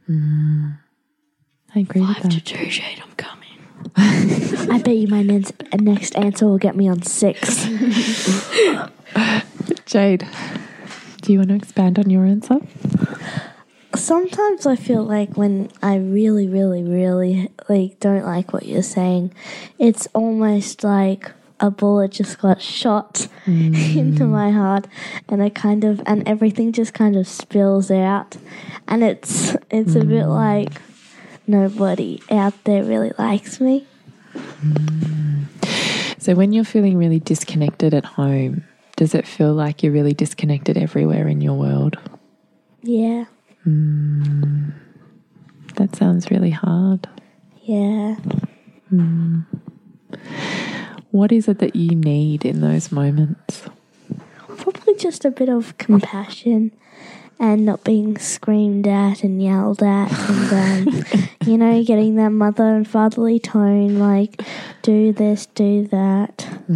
[SPEAKER 3] I agree with that.
[SPEAKER 5] two shade, I'm coming.
[SPEAKER 4] I bet you my next, next answer will get me on six.
[SPEAKER 3] Jade, do you want to expand on your answer?
[SPEAKER 4] Sometimes I feel like when I really, really, really like don't like what you're saying, it's almost like a bullet just got shot into my heart, and I kind of and everything just kind of spills out, and it's it's a bit like nobody out there really likes me.
[SPEAKER 3] So, when you're feeling really disconnected at home, does it feel like you're really disconnected everywhere in your world?
[SPEAKER 4] Yeah,
[SPEAKER 3] That sounds really hard.
[SPEAKER 4] yeah.
[SPEAKER 3] What is it that you need in those moments?
[SPEAKER 4] Probably just a bit of compassion and not being screamed at and yelled at and, um, you know, getting that mother and fatherly tone like, do this, do that.
[SPEAKER 3] Do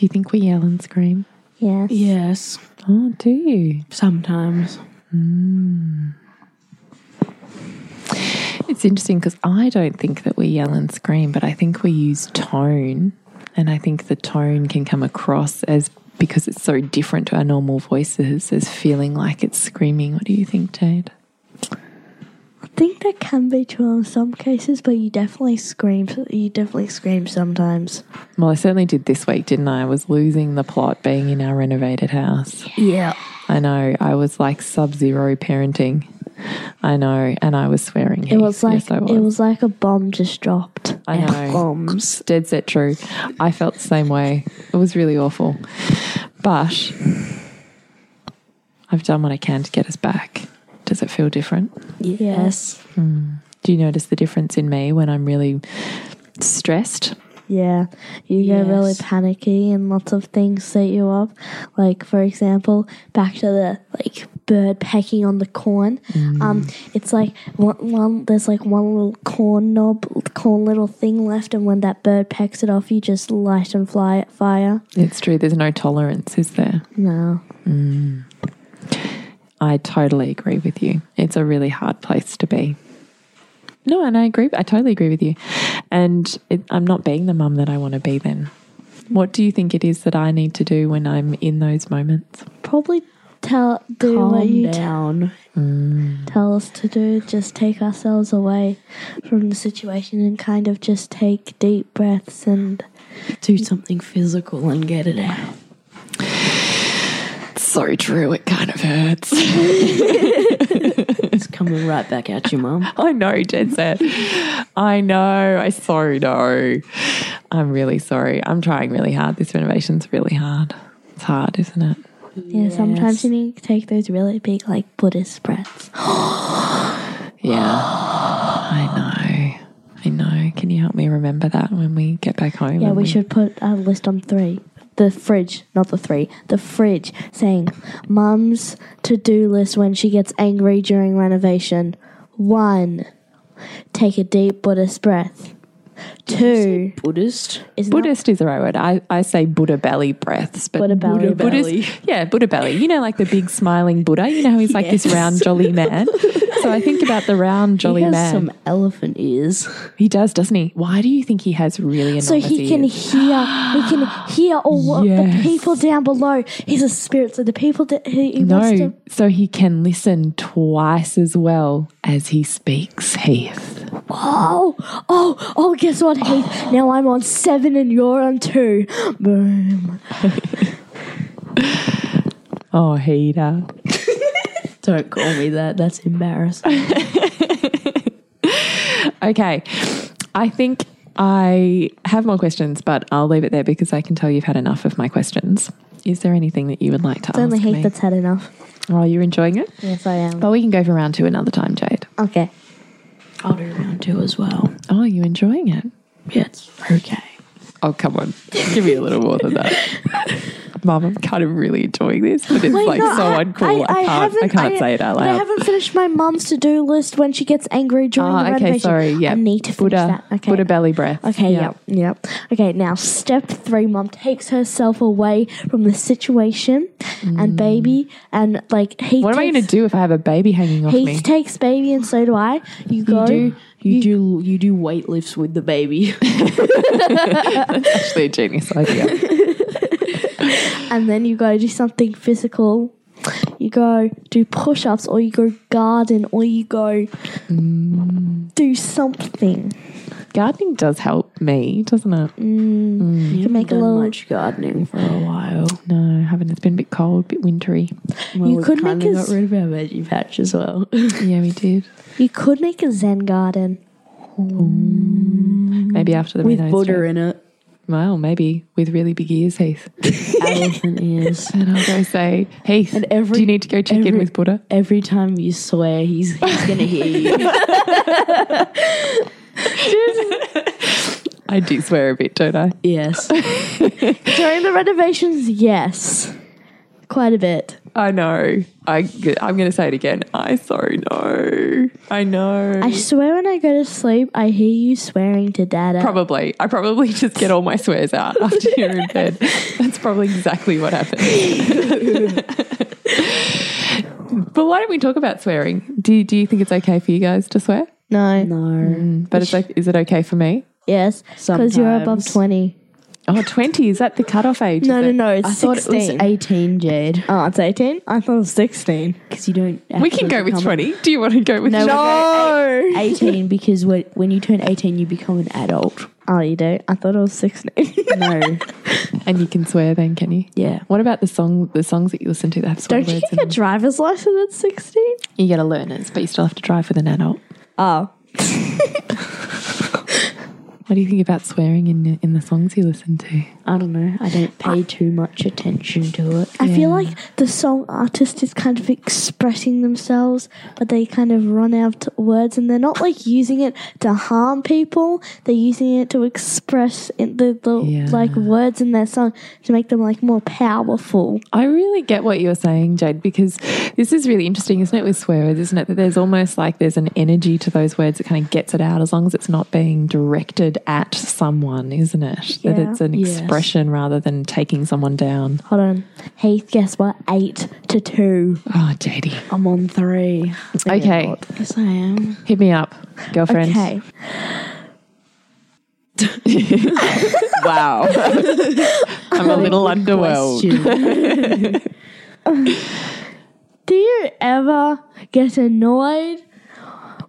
[SPEAKER 3] you think we yell and scream?
[SPEAKER 4] Yes.
[SPEAKER 5] Yes,
[SPEAKER 3] Oh, do you?
[SPEAKER 5] sometimes.
[SPEAKER 3] It's interesting because I don't think that we yell and scream, but I think we use tone. And I think the tone can come across as because it's so different to our normal voices as feeling like it's screaming. What do you think, Jade?
[SPEAKER 4] I think that can be true in some cases, but you definitely scream. You definitely scream sometimes.
[SPEAKER 3] Well, I certainly did this week, didn't I? I was losing the plot being in our renovated house.
[SPEAKER 5] Yeah.
[SPEAKER 3] I know. I was like sub zero parenting. I know. And I was swearing.
[SPEAKER 4] It was like
[SPEAKER 3] yes, I was.
[SPEAKER 4] it was like a bomb just dropped.
[SPEAKER 3] I know.
[SPEAKER 5] Bombs.
[SPEAKER 3] Dead set true. I felt the same way. It was really awful. But I've done what I can to get us back. Does it feel different?
[SPEAKER 4] Yes.
[SPEAKER 3] Do you notice the difference in me when I'm really stressed?
[SPEAKER 4] Yeah, you get really
[SPEAKER 5] Yes.
[SPEAKER 4] panicky and lots of things set you up. Like for example, back to the like bird pecking on the corn.
[SPEAKER 5] Mm.
[SPEAKER 4] Um, it's like one, one there's like one little corn knob, corn little thing left, and when that bird pecks it off, you just light and fly at fire.
[SPEAKER 3] It's true. There's no tolerance, is there?
[SPEAKER 4] No,
[SPEAKER 3] I totally agree with you. It's a really hard place to be. No, and I agree. I totally agree with you. And it, I'm not being the mum that I want to be then. What do you think it is that I need to do when I'm in those moments?
[SPEAKER 4] probably tell do what
[SPEAKER 5] Calm
[SPEAKER 4] you t-
[SPEAKER 5] down.
[SPEAKER 4] tell us to do. Just take ourselves away from the situation and kind of just take deep breaths and.
[SPEAKER 5] Do something physical and get it out.
[SPEAKER 3] so true. It kind of hurts.
[SPEAKER 5] It's coming right back at you, Mum.
[SPEAKER 3] I know, Jen said. I know. I so know. I'm really sorry. I'm trying really hard. This renovation's really hard. It's hard, isn't it?
[SPEAKER 4] Yeah, sometimes
[SPEAKER 5] Yes.
[SPEAKER 4] you need to take those really big, like Buddhist breaths.
[SPEAKER 3] Yeah. I know. I know. Can you help me remember that when we get back home?
[SPEAKER 4] Yeah,
[SPEAKER 3] and
[SPEAKER 4] we should put a list on three. The fridge, not the three, the fridge saying, Mum's to do list when she gets angry during renovation. One, take a deep Buddhist breath. Two,
[SPEAKER 5] Buddhist.
[SPEAKER 4] is not-
[SPEAKER 3] Buddhist is the right word. I, I say Buddha belly breaths, but
[SPEAKER 4] Buddha belly.
[SPEAKER 5] Buddha
[SPEAKER 3] Buddhist,
[SPEAKER 5] belly.
[SPEAKER 3] yeah, Buddha belly. You know, like the big smiling Buddha. You know how he's like this round jolly man. So I think about the round jolly
[SPEAKER 5] He has
[SPEAKER 3] man.
[SPEAKER 5] some elephant ears.
[SPEAKER 3] He does, doesn't he? Why do you think he has really
[SPEAKER 4] so
[SPEAKER 3] enormous
[SPEAKER 4] he can
[SPEAKER 3] ears?
[SPEAKER 4] hear, he can hear all what the
[SPEAKER 3] Yes.
[SPEAKER 4] people down below. He's a spirit, so the people that he, he wants to
[SPEAKER 3] No, so he can listen twice as well as he speaks, Heath.
[SPEAKER 4] Oh, oh, oh, guess what, Heath? Now I'm on seven and you're on two. Boom.
[SPEAKER 3] Oh, Heater.
[SPEAKER 5] Don't call me that. That's embarrassing.
[SPEAKER 3] Okay. I think I have more questions, but I'll leave it there because I can tell you've had enough of my questions. Is there anything that you would like to
[SPEAKER 4] It's only
[SPEAKER 3] ask
[SPEAKER 4] heat
[SPEAKER 3] me?
[SPEAKER 4] that's had enough.
[SPEAKER 3] Oh, you're enjoying it?
[SPEAKER 4] Yes, I am.
[SPEAKER 3] But we can go for round two another time, Jade.
[SPEAKER 4] Okay.
[SPEAKER 5] I'll do round two as well.
[SPEAKER 3] Oh, you enjoying it?
[SPEAKER 5] Yeah, it's okay.
[SPEAKER 3] Oh, come on. Give me a little more than that. Mum, I'm kind of really enjoying this, but it's like
[SPEAKER 4] no,
[SPEAKER 3] so uncool. I, can't, I
[SPEAKER 4] haven't-
[SPEAKER 3] can't say it out
[SPEAKER 4] but I
[SPEAKER 3] loud.
[SPEAKER 4] haven't finished my mum's to do list when she gets angry during
[SPEAKER 3] Oh,
[SPEAKER 4] the
[SPEAKER 3] okay,
[SPEAKER 4] renovation.
[SPEAKER 3] sorry. Yeah.
[SPEAKER 4] I need to finish
[SPEAKER 3] Buddha,
[SPEAKER 4] that. Okay.
[SPEAKER 3] Buddha belly breath.
[SPEAKER 4] Okay, yep. yep, Okay, now step three, mom takes herself away from the situation and baby and like he
[SPEAKER 3] Mm. What am I going to
[SPEAKER 4] takes-
[SPEAKER 3] do if I have a baby hanging off
[SPEAKER 4] He
[SPEAKER 3] me?
[SPEAKER 4] takes baby and so do I. You go
[SPEAKER 5] You, do you do weight lifts with the baby.
[SPEAKER 3] Actually, a genius idea.
[SPEAKER 4] and then you go do something physical. You go do push ups or you go garden or you go do something.
[SPEAKER 3] Gardening does help me, doesn't it?
[SPEAKER 5] you can
[SPEAKER 4] make a little-
[SPEAKER 5] much gardening for a while.
[SPEAKER 3] No, I haven't. It's been a bit cold, a bit wintry.
[SPEAKER 5] Well,
[SPEAKER 4] You
[SPEAKER 5] we
[SPEAKER 4] could make
[SPEAKER 5] kinda
[SPEAKER 4] a
[SPEAKER 5] got
[SPEAKER 4] s-
[SPEAKER 5] rid of our veggie patch as well.
[SPEAKER 3] yeah, we did.
[SPEAKER 4] You could make a Zen garden.
[SPEAKER 3] Maybe after the
[SPEAKER 5] with
[SPEAKER 3] Minos
[SPEAKER 5] butter
[SPEAKER 3] trip.
[SPEAKER 5] in it.
[SPEAKER 3] Well, maybe with really big ears, Heath.
[SPEAKER 5] Elephant ears.
[SPEAKER 3] And I'll go say, Heath,
[SPEAKER 5] And every-
[SPEAKER 3] do you need to go check in
[SPEAKER 5] every-
[SPEAKER 3] with Buddha?
[SPEAKER 4] e-
[SPEAKER 5] Every time you swear, he's he's gonna hear you.
[SPEAKER 3] I do swear a bit, don't I?
[SPEAKER 5] yes.
[SPEAKER 4] During the renovations, yes. Quite a bit.
[SPEAKER 3] I know. I, I'm going to say it again. I so know. I know.
[SPEAKER 4] I swear when I go to sleep, I hear you swearing to dada.
[SPEAKER 3] probably. I probably just get all my swears out after you're in bed. That's probably exactly what happens. but why don't we talk about swearing? Do, do you think it's okay for you guys to swear?
[SPEAKER 4] No. Mm.
[SPEAKER 5] No.
[SPEAKER 3] But it's like, is it okay for me?
[SPEAKER 4] Yes. Because you're above
[SPEAKER 5] Sometimes.
[SPEAKER 4] 20.
[SPEAKER 3] Oh, 20. Is that the cutoff age?
[SPEAKER 4] No,
[SPEAKER 3] is
[SPEAKER 4] no,
[SPEAKER 3] it?
[SPEAKER 4] no. It's
[SPEAKER 5] I
[SPEAKER 4] 16.
[SPEAKER 5] thought it was 18, Jade.
[SPEAKER 4] Oh, it's 18? I thought it was 16.
[SPEAKER 5] Because you don't.
[SPEAKER 3] We can
[SPEAKER 5] actually
[SPEAKER 3] go with
[SPEAKER 5] become
[SPEAKER 3] 20. Do you want to go with
[SPEAKER 5] No.
[SPEAKER 4] No!
[SPEAKER 5] 18 because when when you turn 18, you become an adult.
[SPEAKER 4] Oh, you do? I thought it was 16.
[SPEAKER 5] No.
[SPEAKER 3] And you can swear then, can you?
[SPEAKER 5] yeah.
[SPEAKER 3] What about the song? The songs that you listen to that have swear
[SPEAKER 4] Don't you
[SPEAKER 3] words in
[SPEAKER 4] get a
[SPEAKER 3] them?
[SPEAKER 4] driver's license at 16?
[SPEAKER 3] You get a learner's, but you still have to drive with an adult.
[SPEAKER 4] Oh.
[SPEAKER 3] What do you think about swearing in the, in the songs you listen to?
[SPEAKER 5] I don't know. I don't pay too much attention to it.
[SPEAKER 4] I feel like the song artist is kind of expressing themselves, but they kind of run out words, and they're not like using it to harm people. They're using it to express in the, the
[SPEAKER 3] Yeah.
[SPEAKER 4] like words in their song to make them like more powerful.
[SPEAKER 3] I really get what you're saying, Jade, because this is really interesting, isn't it, with swear words, isn't it? That there's almost like there's an energy to those words that kind of gets it out as long as it's not being directed at someone, isn't it? That
[SPEAKER 4] Yeah.
[SPEAKER 3] it's an
[SPEAKER 5] Yes.
[SPEAKER 3] expression rather than taking someone down.
[SPEAKER 4] Hold on, Heath. Guess what? Eight to two.
[SPEAKER 3] Oh, Jadey.
[SPEAKER 5] I'm on three.
[SPEAKER 3] Okay,
[SPEAKER 5] Yes, I am.
[SPEAKER 3] hit me up, girlfriend.
[SPEAKER 4] Okay.
[SPEAKER 3] Wow. I'm a little underwhelmed.
[SPEAKER 5] Question.
[SPEAKER 4] Do you ever get annoyed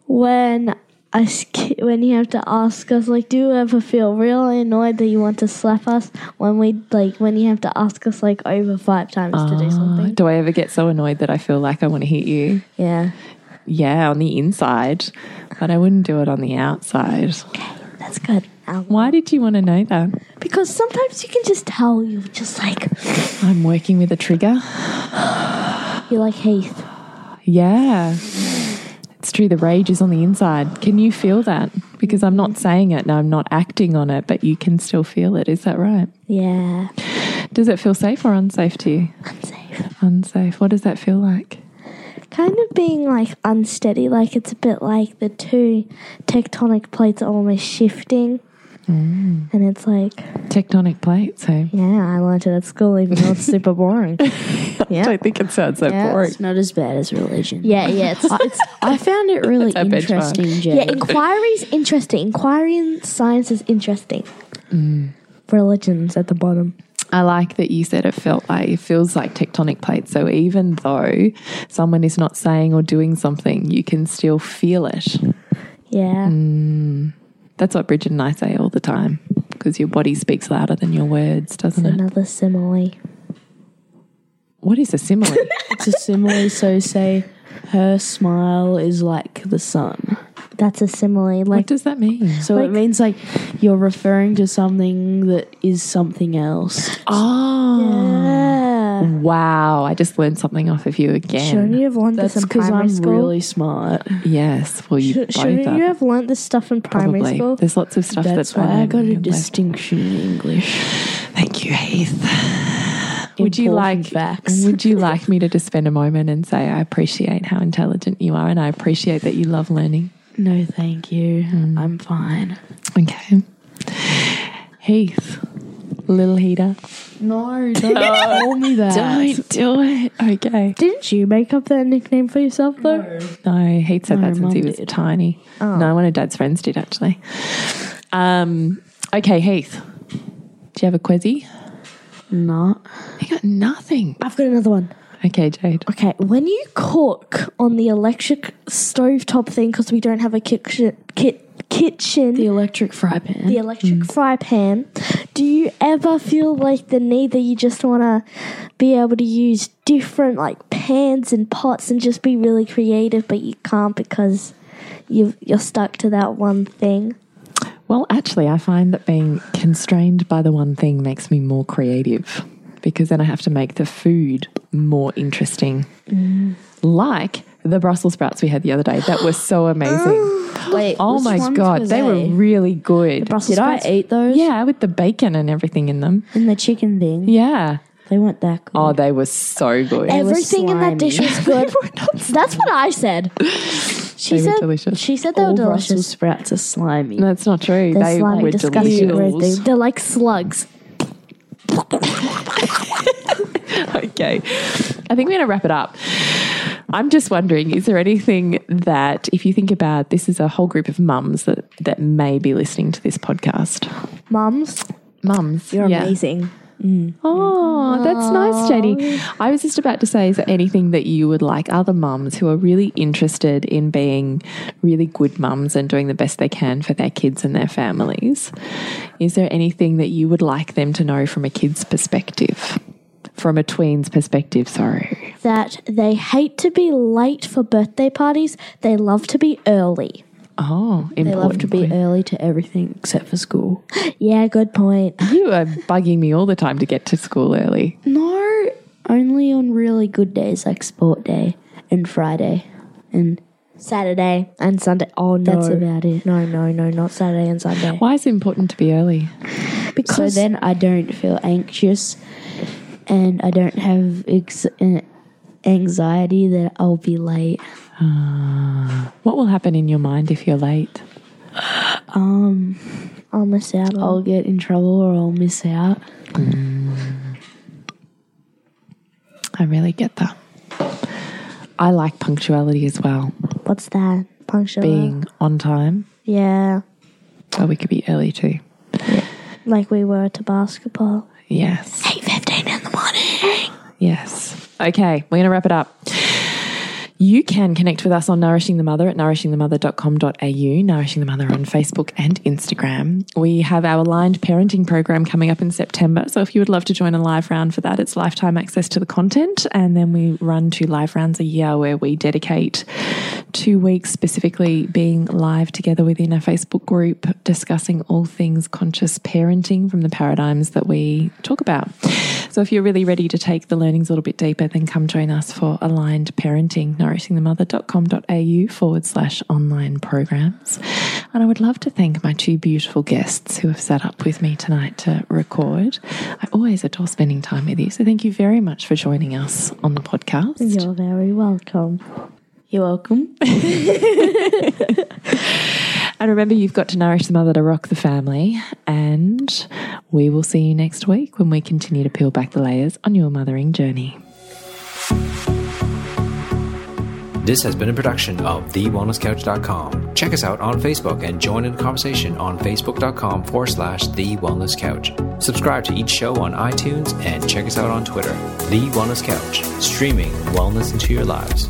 [SPEAKER 4] when us ki- when you have to ask us like do you ever feel really annoyed that you want to slap us when we like when you have to ask us like over five times to do
[SPEAKER 3] Uh,
[SPEAKER 4] something?
[SPEAKER 3] do I ever get so annoyed that I feel like I want to hit you?
[SPEAKER 4] Yeah.
[SPEAKER 3] Yeah, on the inside, but I wouldn't do it on the outside.
[SPEAKER 4] That's good. Um,
[SPEAKER 3] Why did you want to know that?
[SPEAKER 4] Because sometimes you can just tell you just like
[SPEAKER 3] I'm working with a trigger.
[SPEAKER 4] you're like Heath.
[SPEAKER 3] Yeah. It's true, the rage is on the inside. Can you feel that? Because I'm not saying it and I'm not acting on it, but you can still feel it. Is that right?
[SPEAKER 4] Yeah.
[SPEAKER 3] Does it feel safe or unsafe to you?
[SPEAKER 4] Unsafe.
[SPEAKER 3] Unsafe. What does that feel like?
[SPEAKER 4] Kind of being like unsteady, like it's a bit like the two tectonic plates are almost shifting. And it's like
[SPEAKER 3] Tectonic plates, hey?
[SPEAKER 4] Yeah, I learned it at school, even though it's super boring.
[SPEAKER 3] I
[SPEAKER 4] Yeah.
[SPEAKER 3] don't think it sounds that
[SPEAKER 4] Yeah.
[SPEAKER 3] boring.
[SPEAKER 5] It's not as bad as religion.
[SPEAKER 4] Yeah, yeah. It's, it's,
[SPEAKER 5] I found it really
[SPEAKER 3] our benchmark.
[SPEAKER 5] interesting,
[SPEAKER 4] yeah,
[SPEAKER 5] Jade.
[SPEAKER 4] inquiry's interesting. Inquiry in science is interesting. Mm. Religion's at the bottom.
[SPEAKER 3] I like that you said it felt like it feels like tectonic plates. So even though someone is not saying or doing something, you can still feel it.
[SPEAKER 4] Yeah.
[SPEAKER 3] That's what Bridget and I say all the time because your body speaks louder than your words, doesn't it?
[SPEAKER 4] Another simile.
[SPEAKER 3] What is a simile?
[SPEAKER 5] It's a simile, so say her smile is like the sun.
[SPEAKER 4] That's a simile.
[SPEAKER 3] what
[SPEAKER 4] Like,
[SPEAKER 3] does that mean?
[SPEAKER 5] So it means like you're referring to something that is something else.
[SPEAKER 3] Oh,
[SPEAKER 4] yeah. Yeah.
[SPEAKER 3] Wow, I just learned something off of you again.
[SPEAKER 4] Shouldn't you have learned
[SPEAKER 5] That's
[SPEAKER 4] this in
[SPEAKER 5] because
[SPEAKER 4] primary
[SPEAKER 5] I'm
[SPEAKER 4] school?
[SPEAKER 5] really smart.
[SPEAKER 3] Yes, well, you
[SPEAKER 4] Sh-
[SPEAKER 3] both
[SPEAKER 4] shouldn't
[SPEAKER 3] are.
[SPEAKER 4] you have learnt this stuff in primary
[SPEAKER 3] probably.
[SPEAKER 4] school?
[SPEAKER 3] There's lots of stuff
[SPEAKER 5] That's
[SPEAKER 3] that
[SPEAKER 5] why I got a
[SPEAKER 3] remember.
[SPEAKER 5] distinction in English.
[SPEAKER 3] Thank you, Heath. Would you
[SPEAKER 5] Important
[SPEAKER 3] like Mm.
[SPEAKER 5] facts?
[SPEAKER 3] Would you like me to just spend a moment and say I appreciate how intelligent you are and I appreciate that you love learning?
[SPEAKER 5] No, thank you. I'm fine.
[SPEAKER 3] Okay,
[SPEAKER 5] Heath.
[SPEAKER 3] little heater.
[SPEAKER 5] No, don't call me that.
[SPEAKER 3] Don't do it. Okay.
[SPEAKER 4] Didn't you make up that nickname for yourself though?
[SPEAKER 3] No, Heath said
[SPEAKER 5] No,
[SPEAKER 3] that since he
[SPEAKER 5] Mum
[SPEAKER 3] was
[SPEAKER 5] did.
[SPEAKER 3] tiny. No, one of Dad's friends did actually. Um, okay, Heath. Do you have a quizzy?
[SPEAKER 5] No.
[SPEAKER 3] You got nothing.
[SPEAKER 4] I've got another one.
[SPEAKER 3] Okay, Jade.
[SPEAKER 4] Okay, when you cook on the electric stovetop thing because we don't have a kitchen, kit, kitchen,
[SPEAKER 5] The
[SPEAKER 4] the,
[SPEAKER 5] electric fry pan.
[SPEAKER 4] electric fry pan, do you ever feel like the need that you just want to be able to use different like pans and pots and just be really creative, but you can't because you you're stuck to that one thing?
[SPEAKER 3] Well, actually, I find that being constrained by the one thing makes me more creative because then I have to make the food more interesting. Mm. Like the Brussels sprouts we had the other day that were so amazing.
[SPEAKER 5] Wait,
[SPEAKER 3] oh my God, they were really good.
[SPEAKER 5] Did I eat those?
[SPEAKER 3] Yeah, with the bacon and everything in them.
[SPEAKER 5] And the chicken thing.
[SPEAKER 3] Yeah.
[SPEAKER 5] They weren't that good.
[SPEAKER 3] Oh, they were so good.
[SPEAKER 5] were
[SPEAKER 4] Everything in that
[SPEAKER 5] slimy.
[SPEAKER 4] dish was good. That's what I said. She
[SPEAKER 3] They were
[SPEAKER 4] said
[SPEAKER 3] delicious.
[SPEAKER 4] She said they
[SPEAKER 5] All
[SPEAKER 4] were
[SPEAKER 5] Brussels
[SPEAKER 4] delicious.
[SPEAKER 5] sprouts are slimy.
[SPEAKER 3] That's not true.
[SPEAKER 4] They're
[SPEAKER 3] they
[SPEAKER 4] slimy,
[SPEAKER 3] were
[SPEAKER 4] disgusting.
[SPEAKER 3] delicious.
[SPEAKER 4] They, they're like slugs.
[SPEAKER 3] okay. I think we're going to wrap it up. I'm just wondering, is there anything that, if you think about, this is a whole group of mums that, that may be listening to this podcast.
[SPEAKER 4] Mums,
[SPEAKER 3] Mums.
[SPEAKER 4] you're
[SPEAKER 3] yeah.
[SPEAKER 4] amazing.
[SPEAKER 3] Oh, that's nice, Jenny. I was just about to say, is there anything that you would like other mums who are really interested in being really good mums and doing the best they can for their kids and their families? Is there anything that you would like them to know from a kid's perspective? From a tween's perspective, sorry.
[SPEAKER 4] That they hate to be late for birthday parties. They love to be early.
[SPEAKER 3] Oh, important.
[SPEAKER 5] they love to be early to everything except for school.
[SPEAKER 4] Yeah, good point.
[SPEAKER 3] You are bugging me all the time to get to school early.
[SPEAKER 5] No, only on really good days like sport day and Friday. And
[SPEAKER 4] Saturday and Sunday. Oh no,
[SPEAKER 5] that's about it.
[SPEAKER 4] No, no, no, not Saturday and Sunday.
[SPEAKER 3] Why is it important to be early?
[SPEAKER 5] So
[SPEAKER 4] Because
[SPEAKER 5] then I don't feel anxious and I don't have ex- uh, anxiety that I'll be late.
[SPEAKER 3] What will happen in your mind if you're late?
[SPEAKER 4] I'll miss out. on-
[SPEAKER 5] I'll get in trouble or I'll miss out.
[SPEAKER 3] I really get that. I like punctuality as well,
[SPEAKER 4] what's that? Punctual.
[SPEAKER 3] being on time,
[SPEAKER 4] Yeah,
[SPEAKER 3] but we could be early too.
[SPEAKER 4] like we were to basketball.
[SPEAKER 3] Yes.
[SPEAKER 4] Eight fifteen in the morning.
[SPEAKER 3] Yes. Okay, we're going to wrap it up. You can connect with us on Nourishing the Mother at nourishingthemother.com.au, Nourishing the Mother on Facebook and Instagram. We have our aligned parenting program coming up in September. So if you would love to join a live round for that, it's lifetime access to the content. And then we run two live rounds a year where we dedicate two weeks specifically being live together within a Facebook group discussing all things conscious parenting from the paradigms that we talk about. So if you're really ready to take the learnings a little bit deeper, then come join us for Aligned Parenting, nourishingthemother.com.au forward slash online programs. And I would love to thank my two beautiful guests who have sat up with me tonight to record. I always adore spending time with you. So thank you very much for joining us on the podcast.
[SPEAKER 4] You're very welcome.
[SPEAKER 5] You're welcome.
[SPEAKER 3] And remember, you've got to nourish the mother to rock the family. And we will see you next week when we continue to peel back the layers on your mothering journey.
[SPEAKER 1] This has been a production of TheWellnessCouch.com. Check us out on Facebook and join in the conversation on Facebook.com forward slash The Wellness Couch. Subscribe to each show on iTunes and check us out on Twitter. The Wellness Couch, streaming wellness into your lives.